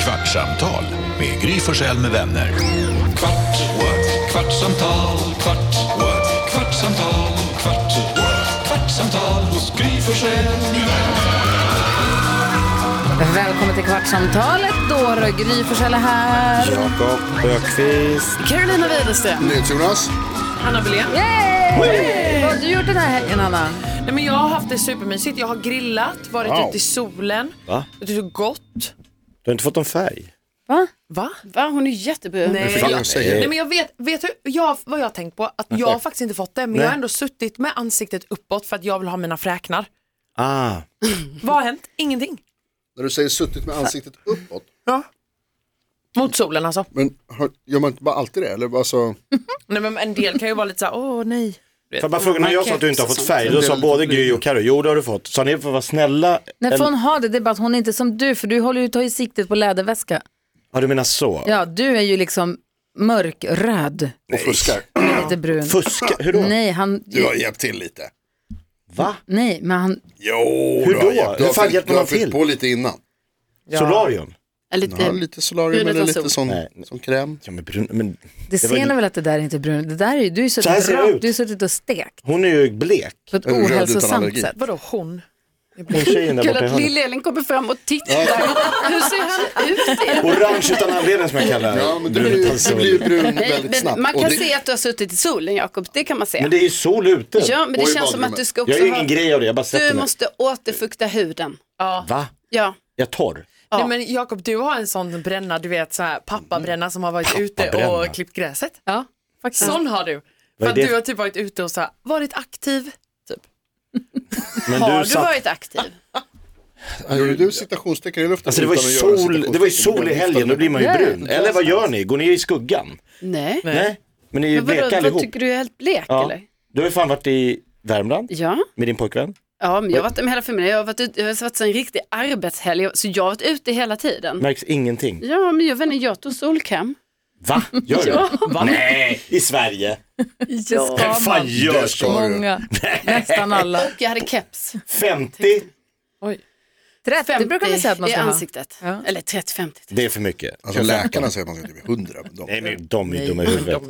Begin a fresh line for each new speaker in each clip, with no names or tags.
Kvartsamtal med Gry Forssell med vänner. Kvart, what? kvartsamtal, kvart, what? kvartsamtal, kvart, what? kvartsamtal hos Gry Forssell med vänner.
Välkommen till Kvartsamtalet då. Gry Forssell är här.
Jakob Ökvist.
Carolina Widerström.
Jonas.
Anna Belén.
Yay! Vad har du gjort den här helgen, Anna?
Nej, men jag har haft det supermysigt. Jag har grillat, varit
Wow.
ute i solen.
Va?
Jag tyckte det var gott.
Du har inte fått någon färg?
Va?
Va?
Va? Hon är jättebra.
fan,
Nej,
alltså.
jag,
jag säger.
nej men jag vet, vet du jag, vad jag har tänkt på? Att jag har faktiskt inte fått det men jag har ändå suttit med ansiktet uppåt för att jag vill ha mina fräknar.
Ah,
Vad har hänt? Ingenting.
När du säger suttit med ansiktet uppåt,
Ja. Mot solen alltså.
men har, gör man inte bara alltid det? Eller alltså,
Nej, men en del kan ju vara lite så här, åh nej.
får jag bara fråga, när jag sa att du inte har fått färg, då sa både Gry och Carro, jo det har du fått. Sa ni för att vara snälla?
Nej, för
eller-
hon har det. Det är bara att hon är inte som du, för du håller ju tar ju siktet på läderväska.
Ja, du menar så?
Ja, du är ju liksom mörkröd.
och fuskar.
och Lite brun.
Fuska, hur då?
Nej, han...
Du har hjälpt till lite.
Va?
Nej, men han...
Jo,
Hur
du har
då?
hjälpt- Du
Hur
har,
fan
fyllt-
hjälper
du har
man till?
fyllt på lite innan.
Solarium?
Eller
Ja,
lite,
lite solarium
Huden
eller
tar
lite
sol.
sån,
Nej.
sån kräm.
Ja, men brun, men
Det
var
ser ni
ju-
väl att det där är inte brunt? Det där är ju... Du har ju
Så här
suttit,
ser det
rakt-
ut.
du har suttit och stekt
hon är ju blek.
på ett
Är du röd utan
ohälsosamt
allergi?
sätt.
Vadå hon?
Hon tjejen där
kul
borta i
att
hörnet.
Lill-Elin kommer fram och tittar. Hur ser han ut egentligen?
Orange utan anledning som jag kallar
Ja, men du
brun
blir
utan
du blir ju
sol.
brun
Nej,
väldigt snabbt.
men man
Och
kan
det-
se att du har suttit i solen Jakob, det kan man se.
Men det är ju sol ute.
ja, men
Och
det
i
känns som att
badrummet.
du ska också
Jag gör ingen
ha,
grej av det, jag bara
du
sätter mig.
måste återfukta huden. Ja.
Va?
Ja,
Jag är torr?
Nej, men Jakob du har en sån bränna, du vet så här pappabränna som har varit ute
Pappabränna.
och klippt gräset.
ja faktiskt.
Sån har du.
Vad
För
är
att
det?
du har typ varit ute och så här, varit aktiv.
Men
har du
satt-
varit aktiv?
Gjorde du citationstecken i luften?
Alltså det var ju
utan att göra
sol, det var ju sol i
citationstecken?
helgen, då blir man ju
Nej.
brun. Eller vad gör ni? Går ni i skuggan?
Nej.
Nej, men ni är ju
Men vadå,
bleka
vad
allihop.
tycker du är helt blek
Ja.
eller?
Du har ju fan varit i Värmland
Ja.
med din pojkvän.
ja, men jag har varit med hela familjen. Jag har varit ute, jag har varit en riktig arbetshelg, så jag har varit ute hela tiden.
Märks ingenting.
Ja, men jag vet inte, jag tog solkräm.
Va? Gör du? Nej, i Sverige. Vem
Ja,
fan gör
Det
så?
ska du.
Många. Nästan alla.
Och jag hade keps.
50?
30 det brukar man säga att man ska
i
ha.
ansiktet. Eller 30-50.
Det är för mycket.
Alltså läkarna säger att man ska typ 100. men
Nej,
De.
men de är ju dumma i huvudet.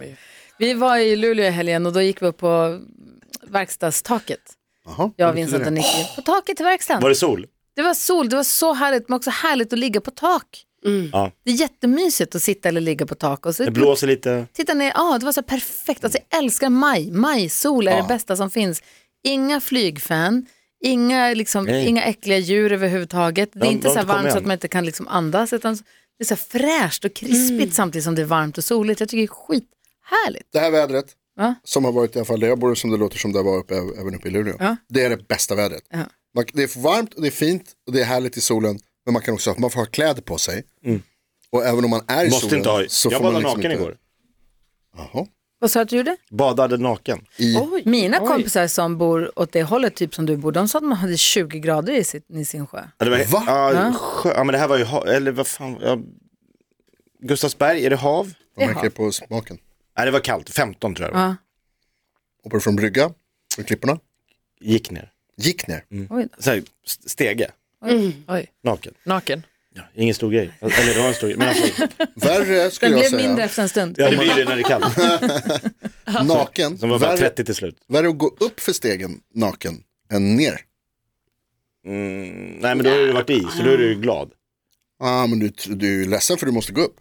Vi var i Luleå i helgen och då gick vi upp på verkstadstaket.
Jaha,
Jag,
vad
Vincent
betyder
och
det?
Nicky. På taket till verkstaden.
Var det sol?
Det var sol, det var så härligt, men också härligt att ligga på tak.
Ja.
Det är jättemysigt att sitta eller ligga på tak. Och så
Det blåser lite.
Titta ner, ah, det var så här perfekt. Alltså, jag älskar maj. Majsol är det bästa som finns. Inga flygfän, inga, liksom,
Nej.
inga äckliga djur överhuvudtaget. Det är
De-
inte
de
så här
kommer
varmt så
igen.
att man inte kan liksom andas. Utan det är så här fräscht och krispigt
Mm.
samtidigt som det är varmt och soligt. Jag tycker det är skithärligt.
Det här vädret,
Va?
som har varit i alla fall där jag bor, som det låter som det var uppe, även uppe i Luleå.
Ja.
Det är det bästa vädret.
Ja.
Man, det är varmt och det är fint och det är härligt i solen. Men man kan också man får ha kläder på sig. Och även om man är i
Mm. Måste
solen
inte ha.
så
Jag
får man
badade
liksom
naken
inte...
igår.
Jaha.
Vad sa du att du gjorde?
Badade naken.
I...
Mina kompisar som bor åt det hållet, typ som du bor, de sa att man hade 20 grader i, sitt, i sin sjö.
Ja, det var,
Va?
Ja, sjö, ja, men det här var ju hav. Eller vad fan. Ja. Gustavsberg, är det hav?
Man märker det på smaken.
Nej, det var kallt. 15 tror jag det var.
Ja.
Hoppade från brygga, från klipporna,
Gick ner.
gick ner.
Oj då.
Så här, st- stege,
Mm.
Oj,
naken.
naken.
Ingen stor grej. Eller det var en stor grej. Men alltså,
Värre
Den
skulle jag
blev
säga.
mindre efter en stund.
ja, det blir det när det är kallt.
Naken.
Som var bara
Värre,
30 till slut.
värre att gå upp för stegen naken än ner.
Mm, nej men då har du varit i, så då är du ju glad.
Ah, men du, du är ledsen för du måste gå upp.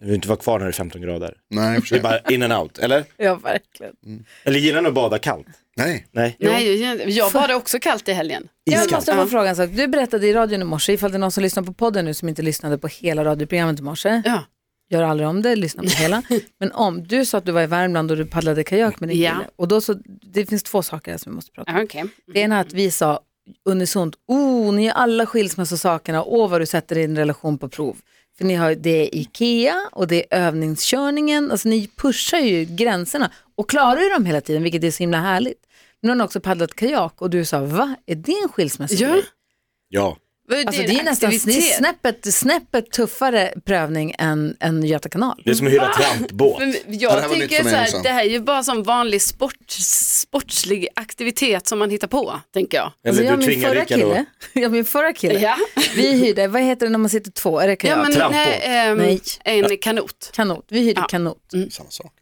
Du vill inte vara kvar när det är 15 grader.
Nej, i och för
Det är
sig.
bara in and out, eller?
Ja, verkligen.
Eller gillar ni att bada kallt?
Nej.
Nej.
Nej, jag- jag badade också kallt i helgen.
Jag måste få
Ja.
fråga en sak. Du berättade i radion i morse, ifall det är någon som lyssnar på podden nu som inte lyssnade på hela radioprogrammet i morse,
Ja.
gör aldrig om det, lyssna på hela. Men om, du sa att du var i Värmland och du paddlade kajak med din
Ja.
kille. Och då så, det finns två saker här som vi måste prata om.
Ja, Okej.
Det ena är att vi sa unisont, oh, ni är alla skilsmässosakerna, åh vad du sätter din relation på prov. För ni har, det är IKEA och det är övningskörningen, alltså ni pushar ju gränserna och klarar ju dem hela tiden, vilket är så himla härligt. Men hon har också paddlat kajak och du sa, va, är det en skilsmässa?
Ja.
Ja.
Vad
Alltså det är
en
nästan
aktivitet?
snäppet, snäppet tuffare prövning än, än Göta kanal.
Det är som att hyra trampbåt.
Men
Ja, det här
jag
var nytt för
tänker så
mig
här,
också.
det här är ju bara som vanlig sport, sportslig aktivitet som man hittar på, tänker jag.
Alltså,
Eller
jag och
du
min
tvingar
förra
Rickard att...
kille, jag min förra kille,
Ja.
vi hyrde, vad heter det när man sitter två, är det kanot?
men
trampor.
nej, ehm,
Nej.
en kanot.
kanot, vi hyrde kanot.
Samma sak.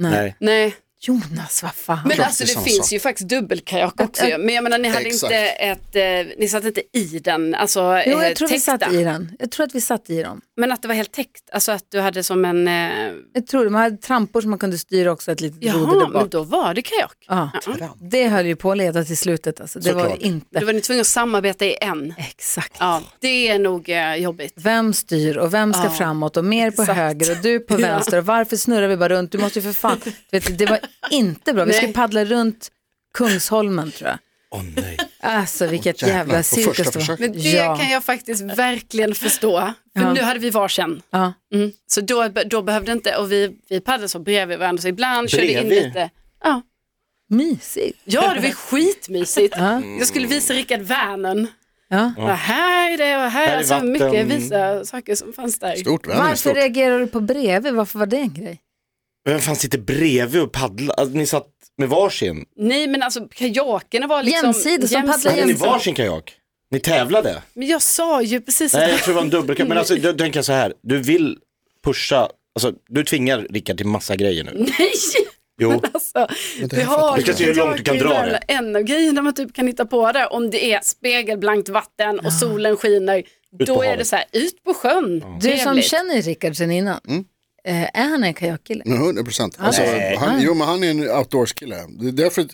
Nej.
Nej.
Jonas, vad fan.
Men
Klart
alltså
det är
det
samma
finns
sak.
ju faktiskt dubbelkajak också ju. Men jag menar ni hade
Exakt.
inte ett, eh, ni satt inte i den, alltså
Jo,
eh,
jag tror vi
täckta.
satt i den. Jag tror att vi satt i dem.
Men att det var helt täckt, alltså att du hade som en, eh,
Jag tror det. Man hade trampor som man kunde styra också ett litet broder
jaha,
där
men
bak.
då var det kajak.
Ja. Det höll ju på att leda till slutet alltså. Det var
Såklart.
inte
Då var ni tvungna att samarbeta i en.
exakt.
Ja, det är nog eh, jobbigt.
Vem styr och vem ska
Ja,
framåt och mer på
exakt.
höger och du på vänster och varför snurrar vi bara runt? Du måste ju för fan, du vet, det var inte bra. Vi
Nej.
skulle paddla runt Kungsholmen tror jag.
Åh nej.
Alltså vilket
Åh, jävlar,
jävla
på första
cirkus det var.
försöket.
Men det kan jag faktiskt verkligen förstå. För
Ja.
nu hade vi varsin.
Ja.
Mm. Så då, då behövde inte, och vi, vi paddlade så bredvid varandra så ibland körde in
Bredvid?
lite. Ja.
Mysigt.
ja, det var skitmysigt.
Ja.
Jag skulle visa Rickard Vänern.
Ja.
Ja. Här är det och här,
Här är
alltså
vatten.
mycket visa saker som fanns där.
Stort, vän,
Varför
stort.
reagerar du på bredvid? Varför var det en grej?
Vem fan sitter bredvid och paddlar? Alltså, ni satt med varsin.
Nej men alltså kajakerna var liksom
Jämsides, de paddlar
Hade ni
jämsides.
varsin kajak? Ni tävlade?
Men jag sa ju precis att
Nej, jag tror det var en dubbelkajak. Men alltså, då tänker jag så här. Du vill pusha, alltså du tvingar Rickard till massa grejer nu.
nej.
Jo.
Alltså,
det
vi
här fattar
har
jag.
Vi ska se hur långt du kan dra
kajaker i
det.
En av grejerna man typ kan hitta på där om det är spegelblankt vatten och solen skiner. Då är det
havet.
så här, ut på sjön.
Du som
Trevligt. Mm.
känner Rickard sen innan, eh, är han en kajakkille?
Men 100 procent. Alltså,
Nej.
han, jo, men han är en outdoors-kille. Det är, därför,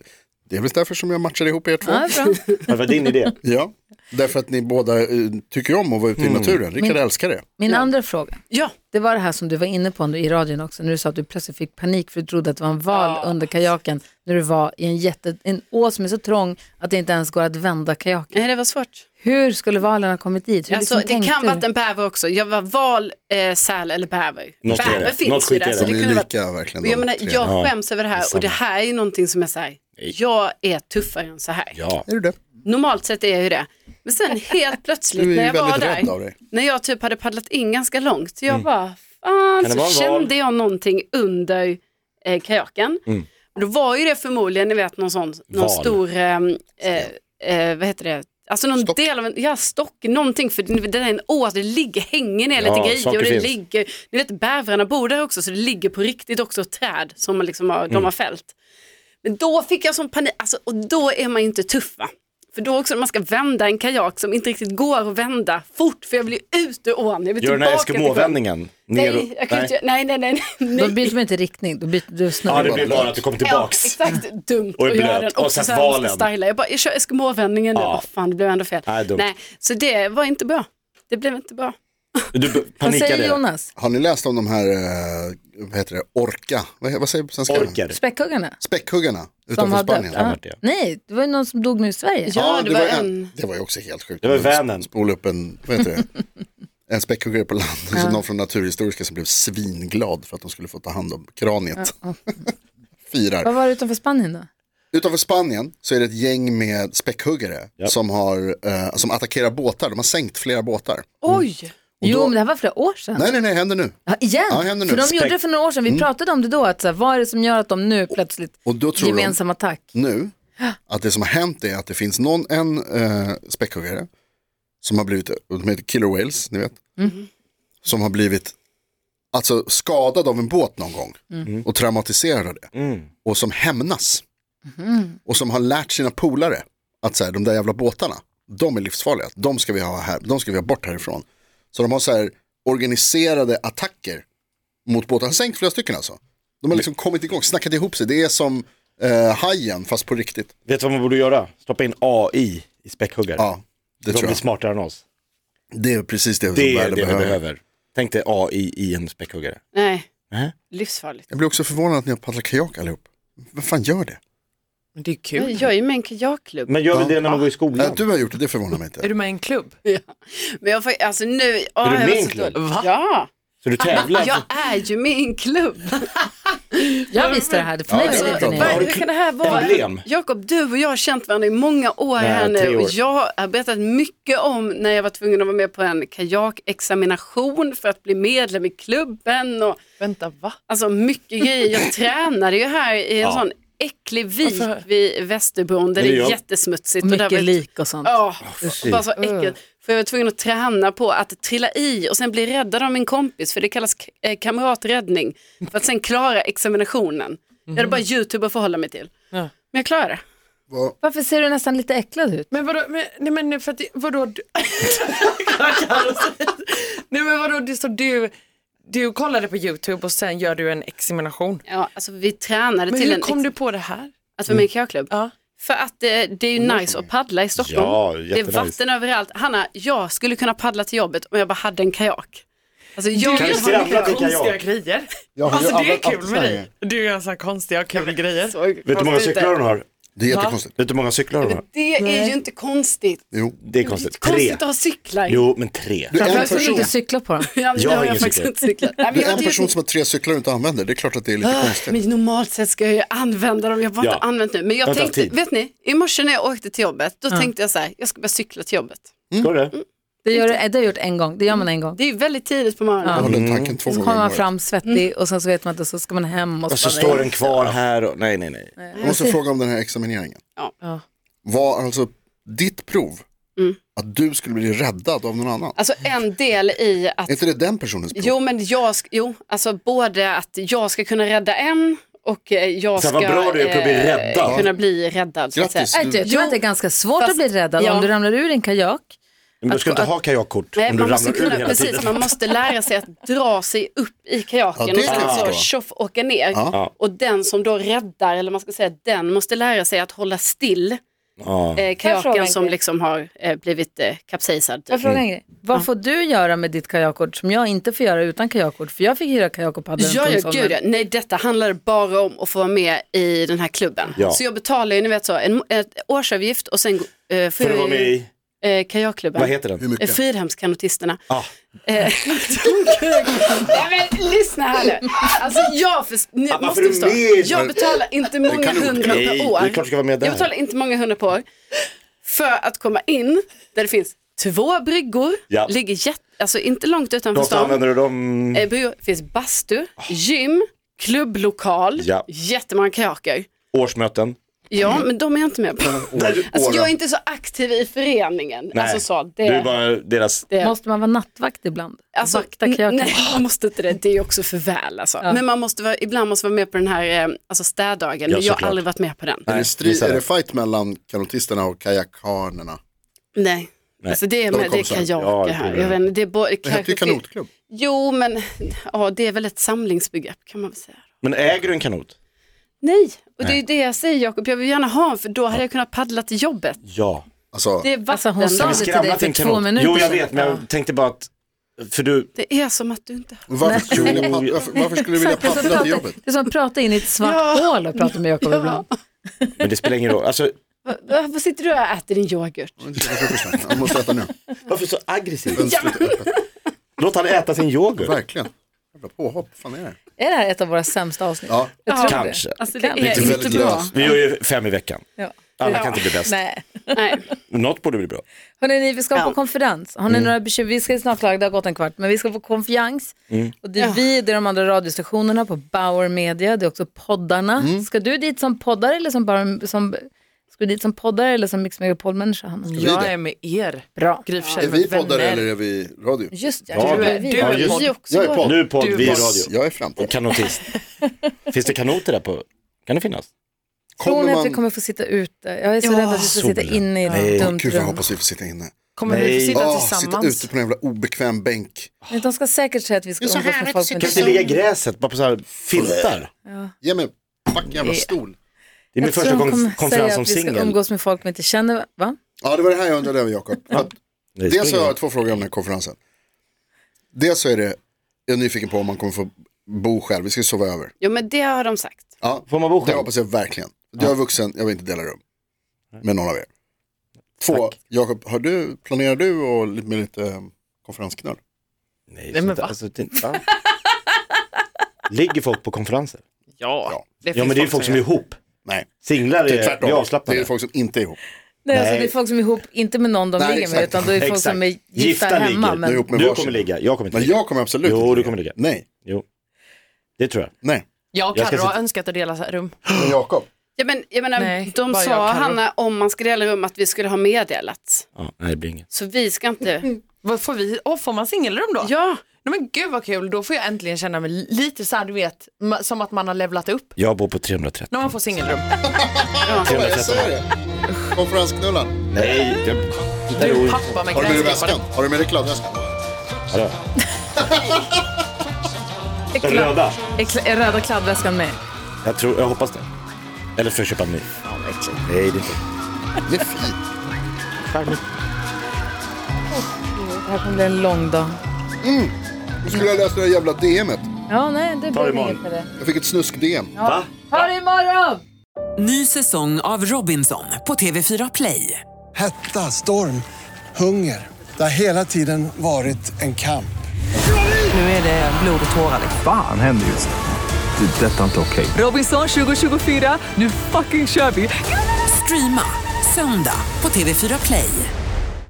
det är väl därför som jag matchade ihop er två.
Mm.
Ja, bra.
Det var din idé.
Ja, därför att ni båda eh, tycker om att vara ute i naturen. Rickard älskar det.
Min andra fråga,
Ja,
det var det här som du var inne på i radion också, när du sa att du plötsligt fick panik för du trodde att det var en val under kajaken, när du var i en, jätte, en å som är så trång att det inte ens går att vända kajaken.
nej, det var svårt.
Hur skulle valen ha kommit dit? Hur
Alltså,
liksom
det
tänkte
kan
du?
vara en bäver också. Jag var val, eh, säl eller bäver.
Något är
bäver
det.
finns
Något
ju
skit
där.
är
Så
det.
det
De är
kunde vara...
lika verkligen.
Och jag,
de
menar,
tre.
jag skäms över det här och det här är ju någonting som är så här. Jag är tuffare än så här.
Ja.
Är du det?
Normalt sett är jag ju det. Men sen helt plötsligt
Du är ju
när jag var
väldigt rädd av
där,
dig.
när jag typ hade paddlat in ganska långt, jag bara, fan,
Mm. Kan det
så
vara en val?
kände jag någonting under eh, kajaken. Och Då var ju det förmodligen, ni vet, någon sån, någon
Mm. Val.
stor, eh, eh, eh, vad heter det, alltså någon
Stock.
del av en, ja stock, någonting, för det är en å, alltså det ligger, hänger ner
Ja,
lite grejer
saker
och det
finns.
ligger, ni vet bävrarna bor där också, så det ligger på riktigt också träd som man liksom har,
Mm.
de har fällt. Men då fick jag sån panik, alltså, och då är man ju inte tuff va? För då också när man ska vända en kajak som inte riktigt går att vända fort, för jag vill ju ut ur ån. Jag vill
Gör den här
tillbaka till sjön.
Eskimo-vändningen. Ner och-
Nej, jag kan inte, göra- nej, nej, nej. nej.
Då byter man inte riktning, då byter du
Ja,
snurrar.
det blir bara att du kommer
Ja,
tillbaks.
exakt dumt
Och är
att göra
blöt.
den
Och
också
sen
så här, man ska
valen.
styla. Jag bara, jag kör Eskimo-vändningen nu,
Ja.
ja. fan det blev ändå fel.
Nej, dumt.
så det var inte bra. Det blev inte bra.
Du
Vad
panikade.
säger Jonas?
Har ni läst om de här, eh, vad heter det, orka? Vad, vad säger vi på svenska?
Orkar.
Späckhuggarna?
Späckhuggarna
Som
utanför
har dött?
Spanien.
Ja.
varit det.
Nej, det var ju någon som dog nu i Sverige.
Ja, det var en.
Det var ju också helt sjukt.
Det var
De sp-
Vänern.
Spolade upp en, vad heter det? En späckhuggare på land, så någon från Naturhistoriska som blev svinglad för att de skulle få ta hand om kraniet. Firar.
Vad var det utanför Spanien då?
Utanför Spanien så är det ett gäng med späckhuggare som, har, eh, som attackerar båtar. De har sänkt flera båtar.
Oj,
Jo,
då-
men det här var flera år sedan.
Nej, nej, nej, händer nu.
Ja, igen?
Ja, händer nu.
För de
Spek-
gjorde det för några år sedan. Vi pratade om det då. Att, så här, vad är det som gör att de nu plötsligt
Och då tror de
gemensam attack?
nu att det som har hänt är att det finns någon, en eh, späckhuggare som har blivit, de heter killer whales, ni vet. Som har blivit alltså, skadad av en båt någon gång och traumatiserad av det. Och som hämnas. Och som har lärt sina polare att så här, de där jävla båtarna, de är livsfarliga. De ska vi ha, här, de ska vi ha bort härifrån. Så de har så här, organiserade attacker mot båtar. Han sänkt flera stycken alltså. De har liksom kommit igång, snackat ihop sig. Det är som eh, hajen fast på riktigt.
Vet du vad man borde göra? Stoppa in AI i späckhuggare.
Ja, det
De
tror
blir
jag.
smartare än oss.
Det är precis det,
Det
som
är
världen
det vi
behöver.
behöver. Tänk dig AI i en späckhuggare.
nej,
Nej.
livsfarligt.
Jag blir också förvånad att ni har paddlat kajak allihop. Vad fan gör det?
Men det är
Jag
kul.
jag är ju med i en kajakklubb.
Men gör vi
Ja.
det när man går i skolan?
Att du har gjort det, det förvånar mig inte.
Är du med i en klubb?
Men jag får, alltså nu, åh,
du
jag
med
var
i en
så
klubb?
dålig.
Va?
Ja,
Så du tävlar?
Jag är ju med i en klubb.
Jag visste det här, för mig
det
var
Så,
det inte
klart.
Eh,
nytt.
Har du
vad kan det här vara?
emblem?
Jakob, du och jag har känt varandra i många år
Nej,
här
tre
nu.
år.
Och jag har berättat mycket om när jag var tvungen att vara med på en kajakexamination för att bli medlem i klubben. Och,
Vänta, va?
alltså mycket grejer. Jag tränade ju här i en
Ja.
sån äcklig vik vid Västerbron
Men
där det
det
är
gör-
jättesmutsigt. och där var
Mycket
ett-
lik och sånt.
Ja, och bara så
Mm.
äckligt. För jag var tvungen att träna på att trilla i och sen bli räddad av min kompis, för det kallas k- eh, kamraträddning, för att sen klara examinationen. Jag hade bara YouTube att förhålla mig till.
Ja.
Men jag klarade det.
Vad-
Varför ser du nästan lite äcklad ut?
Men vadå, men, nej men för att, vadå? Du... nej men vadå, det står du, du kollade på YouTube och sen gör du en examination.
Ja, alltså vi tränade
Men
till
hur
en
kom
ex-
du på det här?
att vara med i köklubb.
Ja.
För att det, det är ju nice att paddla i Stockholm.
Mm. Ja,
det är
jättenice.
vatten överallt. Hanna, jag skulle kunna paddla till jobbet om jag bara hade en kajak. Alltså jag
Kan
vill
du
ha en
skramla till
Konstiga
kajak?
grejer.
Jag har ju
Alltså det är
använt
kul med
appslangen.
dig. Du gör så här konstiga och kul grejer.
kajak.
Vet du hur många cyklar hon har? Vet
Det är jättekonstigt.
du hur många cyklar hon har?
Det är ju inte konstigt.
Jo.
Det är
Det är
konstigt.
konstigt
Tre.
att ha cyklar.
Jo, men tre.
Du är en
Varför får du
person,
inte cykla på dem?
Ja, men
Jag
det
har
har jag
ingen
faktiskt
cykel.
inte cyklat. Nej, men
du
jag
är en
tycker-
person som har tre cyklar och inte använder. Det är klart att det är lite konstigt.
Men normalt sett ska jag ju använda dem, jag har bara
Ja.
inte använt nu. Men jag
Jag har inte
tänkte,
haft tid.
vet ni, i morse när jag åkte till jobbet, då tänkte jag så här, jag ska börja cykla till jobbet.
Ska du?
Det, gör, det har jag gjort en gång, det gör man en gång.
Det är ju väldigt tidigt på morgonen.
Jag håller
Mm.
den tanken
Så
två
kommer
gånger
man
om året.
fram svettig och sen så vet man inte, så ska man hem och
Och så
spara
står
in.
den kvar här och nej, nej, nej.
Jag måste fråga om den här examineringen.
Ja.
Ja.
Var alltså ditt prov att du skulle bli räddad av någon annan?
Alltså en del i att,
Är inte det den personens prov?
jo men jag, sk- jo, alltså både att jag ska kunna rädda en och eh, jag
Så
ska
här, vad bra du är på att bli
eh,
räddad.
kunna bli räddad. Så att säga.
Grattis,
Nej, Äh, du, Jag
du,
tror att det är ganska svårt
Fast-
att bli räddad
ja.
om du ramlar ur din kajak.
Men du ska
Att-
inte ha kajakkort
Nej,
om du
man måste,
ramlar ur
kunna,
hela
precis,
tiden.
man måste lära sig att dra sig upp i kajaken
Ja,
och
det kan
sen
jag
så
förstå.
tjoff åka ner.
Ja.
Och den som då räddar, eller man ska säga den, måste lära sig att hålla still
Ja.
eh,
fråga en
kajaken som
grej?
liksom har eh, blivit eh, kapsejsad.
Jag
Typ.
frågar en grej. Vad får du göra med ditt kajakkort som jag inte får göra utan kajakkort? För jag fick hyra kajak och paddla runt
Ja, ja,
Kungsholmen.
gud ja. Nej, detta handlar bara om att få vara med i den här klubben.
Ja.
Så jag betalar ju, ni vet så, en ett årsavgift och sen eh,
Får du vara
jag
med
ju,
i,
eh, kajakklubben.
vad heter
Hur
den?
Eh,
mycket?
Fridhemskanotisterna.
Ah,
Eh, Nej men lyssna här nu. Alltså jag, för, ni,
Ah, varför
måste
är du
förstå,
med?
jag betalar inte många
kan du-
hundra
nej,
per år.
det är klart du ska vara med där.
Jag betalar inte många hundra per år för att komma in där det finns två bryggor,
Ja.
ligger jätte, alltså inte långt utanför
varför
stan.
använder du dem?
Eh, bryggor, finns bastu, gym, klubblokal,
Ja.
jättemånga kajaker.
Årsmöten?
Ja, men de är jag inte med på. Alltså jag är inte så aktiv i föreningen.
Nej,
Alltså så, det,
du är bara deras...
det.
Måste man vara nattvakt ibland?
Alltså,
Vakta
n-
kajaken?
Nej, man måste inte det. Det är också för väl. Alltså. Men man måste vara, ibland måste man vara med på den här eh, alltså städdagen.
Ja,
men jag har
såklart.
aldrig varit med på den.
Är det, strid,
missa
är
det.
det fight mellan kanotisterna och kajakhanerna?
Nej. Alltså det är,
De
med, det är
kompisar.
kajaker
Ja, det är
här.
det.
Jag vet inte, det är både,
Det hette ju kanotklubb.
Jo, men ja, det är väl ett samlingsbegrepp kan man väl säga.
Men äger du en kanot?
Nej, och det är ju det jag säger Jakob. Jag vill gärna ha en för då hade jag kunnat paddla till jobbet.
Ja.
Alltså,
Det är vatten.
Alltså hon sa det till dig
Skramla till
för
en
två
kanot.
minuter
Jo, jag
sedan.
vet, men jag tänkte bara att... För du,
Det är som att du inte har.
varför, skulle du,
Jo.
pad- varför, varför skulle du vilja
Exakt, det är som att
paddla till
prata-
jobbet?
Det är som att prata in i ett svart hål och prata med Jakob ibland.
men det spelar ingen roll. Alltså,
Va- Varför sitter du och äter din yoghurt?
Jag vill inte käka frukost än. Jag måste äta nu.
varför så aggressiv?
Fönstret är öppet.
Låt han äta sin yoghurt.
Verkligen. Jävla påhopp, vad fan är det?
Är det här ett av våra sämsta avsnitt?
Ja,
Jag tror
Kanske.
det.
Alltså det
Kanske.
är
väldigt
inte bra.
löst.
Vi gör ju fem i veckan.
Ja.
Alla kan inte bli bäst.
Nej.
Nej.
Något borde bli bra.
Hörrni, ni, vi ska
Ja.
på konferens. Har ni
Mm.
några bekymmer? Vi ska snart klara, det har gått en kvart, men vi ska på konferens.
Mm.
Och det är vi, det är de andra radiostationerna på Bauer Media, det är också poddarna.
Mm.
Ska du dit som poddare eller som, bara, som, ska du dit som poddare eller som Mix Megapol-människa? Hanna?
det?
Jag är med er.
Bra.
Gry Forssell
är vi
med
poddare
vänner.
eller är vi radio?
Just ja,
Ja,
du är,
du-
vi.
du är
Vi
podd.
också.
Jag är podd.
Nu podd,
Du
vi
är boss.
radio.
Jag är framtid.
Kanotist. Finns det kanoter där på? Kan det finnas?
Tror ni
Kommer
att vi
man...
kommer få sitta ute? Jag är så
Ja.
rädd att vi ska sitta
Solen.
inne i ett dumt
Gud vad jag
rum.
hoppas vi får sitta inne.
Kommer
Nej.
vi få sitta
Åh, sitta
tillsammans?
ute på en jävla obekväm bänk.
Men De ska säkert säga att vi ska
Det är så
umgås med
härligt
folk.
att
men
sitta
det-
Kan det ligga i gräset? Bara på så här filtar?
Ge mig fuck jävla stol.
Det är min
Jag tror
första
de kommer
kon- konferens
säga
som
att vi ska
singel.
umgås med folk man inte känner. Va?
Ja, det var det här jag undrade över Jakob. För att
Nej,
Dels har
spring.
jag två frågor om den här konferensen. Dels så är det, jag är nyfiken på om man kommer få bo själv, vi ska sova över.
Jo, men det har de sagt.
Ja,
Får man bo
det
själv?
hoppas jag verkligen. Jag är vuxen, jag vill inte dela rum med någon av er. Två, Jakob, har du, planerar du och lite- med lite eh, konferensknöl?
Nej,
men
sånt-
va?
alltså, det, va? Ligger folk på konferenser?
Ja, finns
Ja men det är ju folk som är
gör.
ihop.
Nej,
Singlar
det är
är,
tvärtom.
är
det
avslappnade.
är folk som inte är ihop.
Nej, alltså
Nej.
det är folk som är ihop, inte med någon de
Nej,
ligger med,
exakt.
utan då är det folk
Exakt.
som är gifta, hemma.
ligger.
Nu är
Men
ihop med
du
varsin.
kommer ligga, jag kommer inte
Men
ligga.
jag kommer absolut
Jo,
inte
du kommer ligga.
Nej,
Jo, det tror jag.
nej.
Jag och
Jag ska
Carro har
sitta-
önskat att dela rum.
Men Jakob,
Ja, men, jag menar,
Nej,
de
bara
sa,
jag, Karo.
Hanna, om man ska dela rum att vi skulle ha meddelat.
Ja, nej, det blir inget.
Så vi ska inte...
Vad får, vi... Åh, får man singelrum då?
Ja,
Nej, men gud vad kul, då får jag äntligen känna mig lite så här, du vet, ma- som att man har levlat upp
Jag bor på 330.
när man får singelrum.
kolla jag säger det. Konferensknullaren,
Nej, jag...
Du pappa med
har du med
gräsklipparen.
dig väskan? Har du med dig kladdväskan?
Hallå. Den
Kla-
röda?
är kla- är röda kladdväskan med?
Jag, tror, jag hoppas det. Eller får jag köpa en ny? Nej, det är inte.
Det är fint.
Charmigt.
Det här kommer bli en lång dag.
Du skulle ha läst det där jävla DMet.
Ja, nej, det
det
blir
imorgon.
inget med det.
Jag fick ett snusk-DM.
Va?
Ta det imorgon!
Ny säsong av Robinson på TV4 Play.
Hetta, storm, hunger. Det har hela tiden varit en kamp.
Nu är det blod och tårar. liksom.
Fan händer just nu. Det. är Detta är inte okej.
Robinson 2024, nu fucking kör vi! Streama söndag på TV4 Play.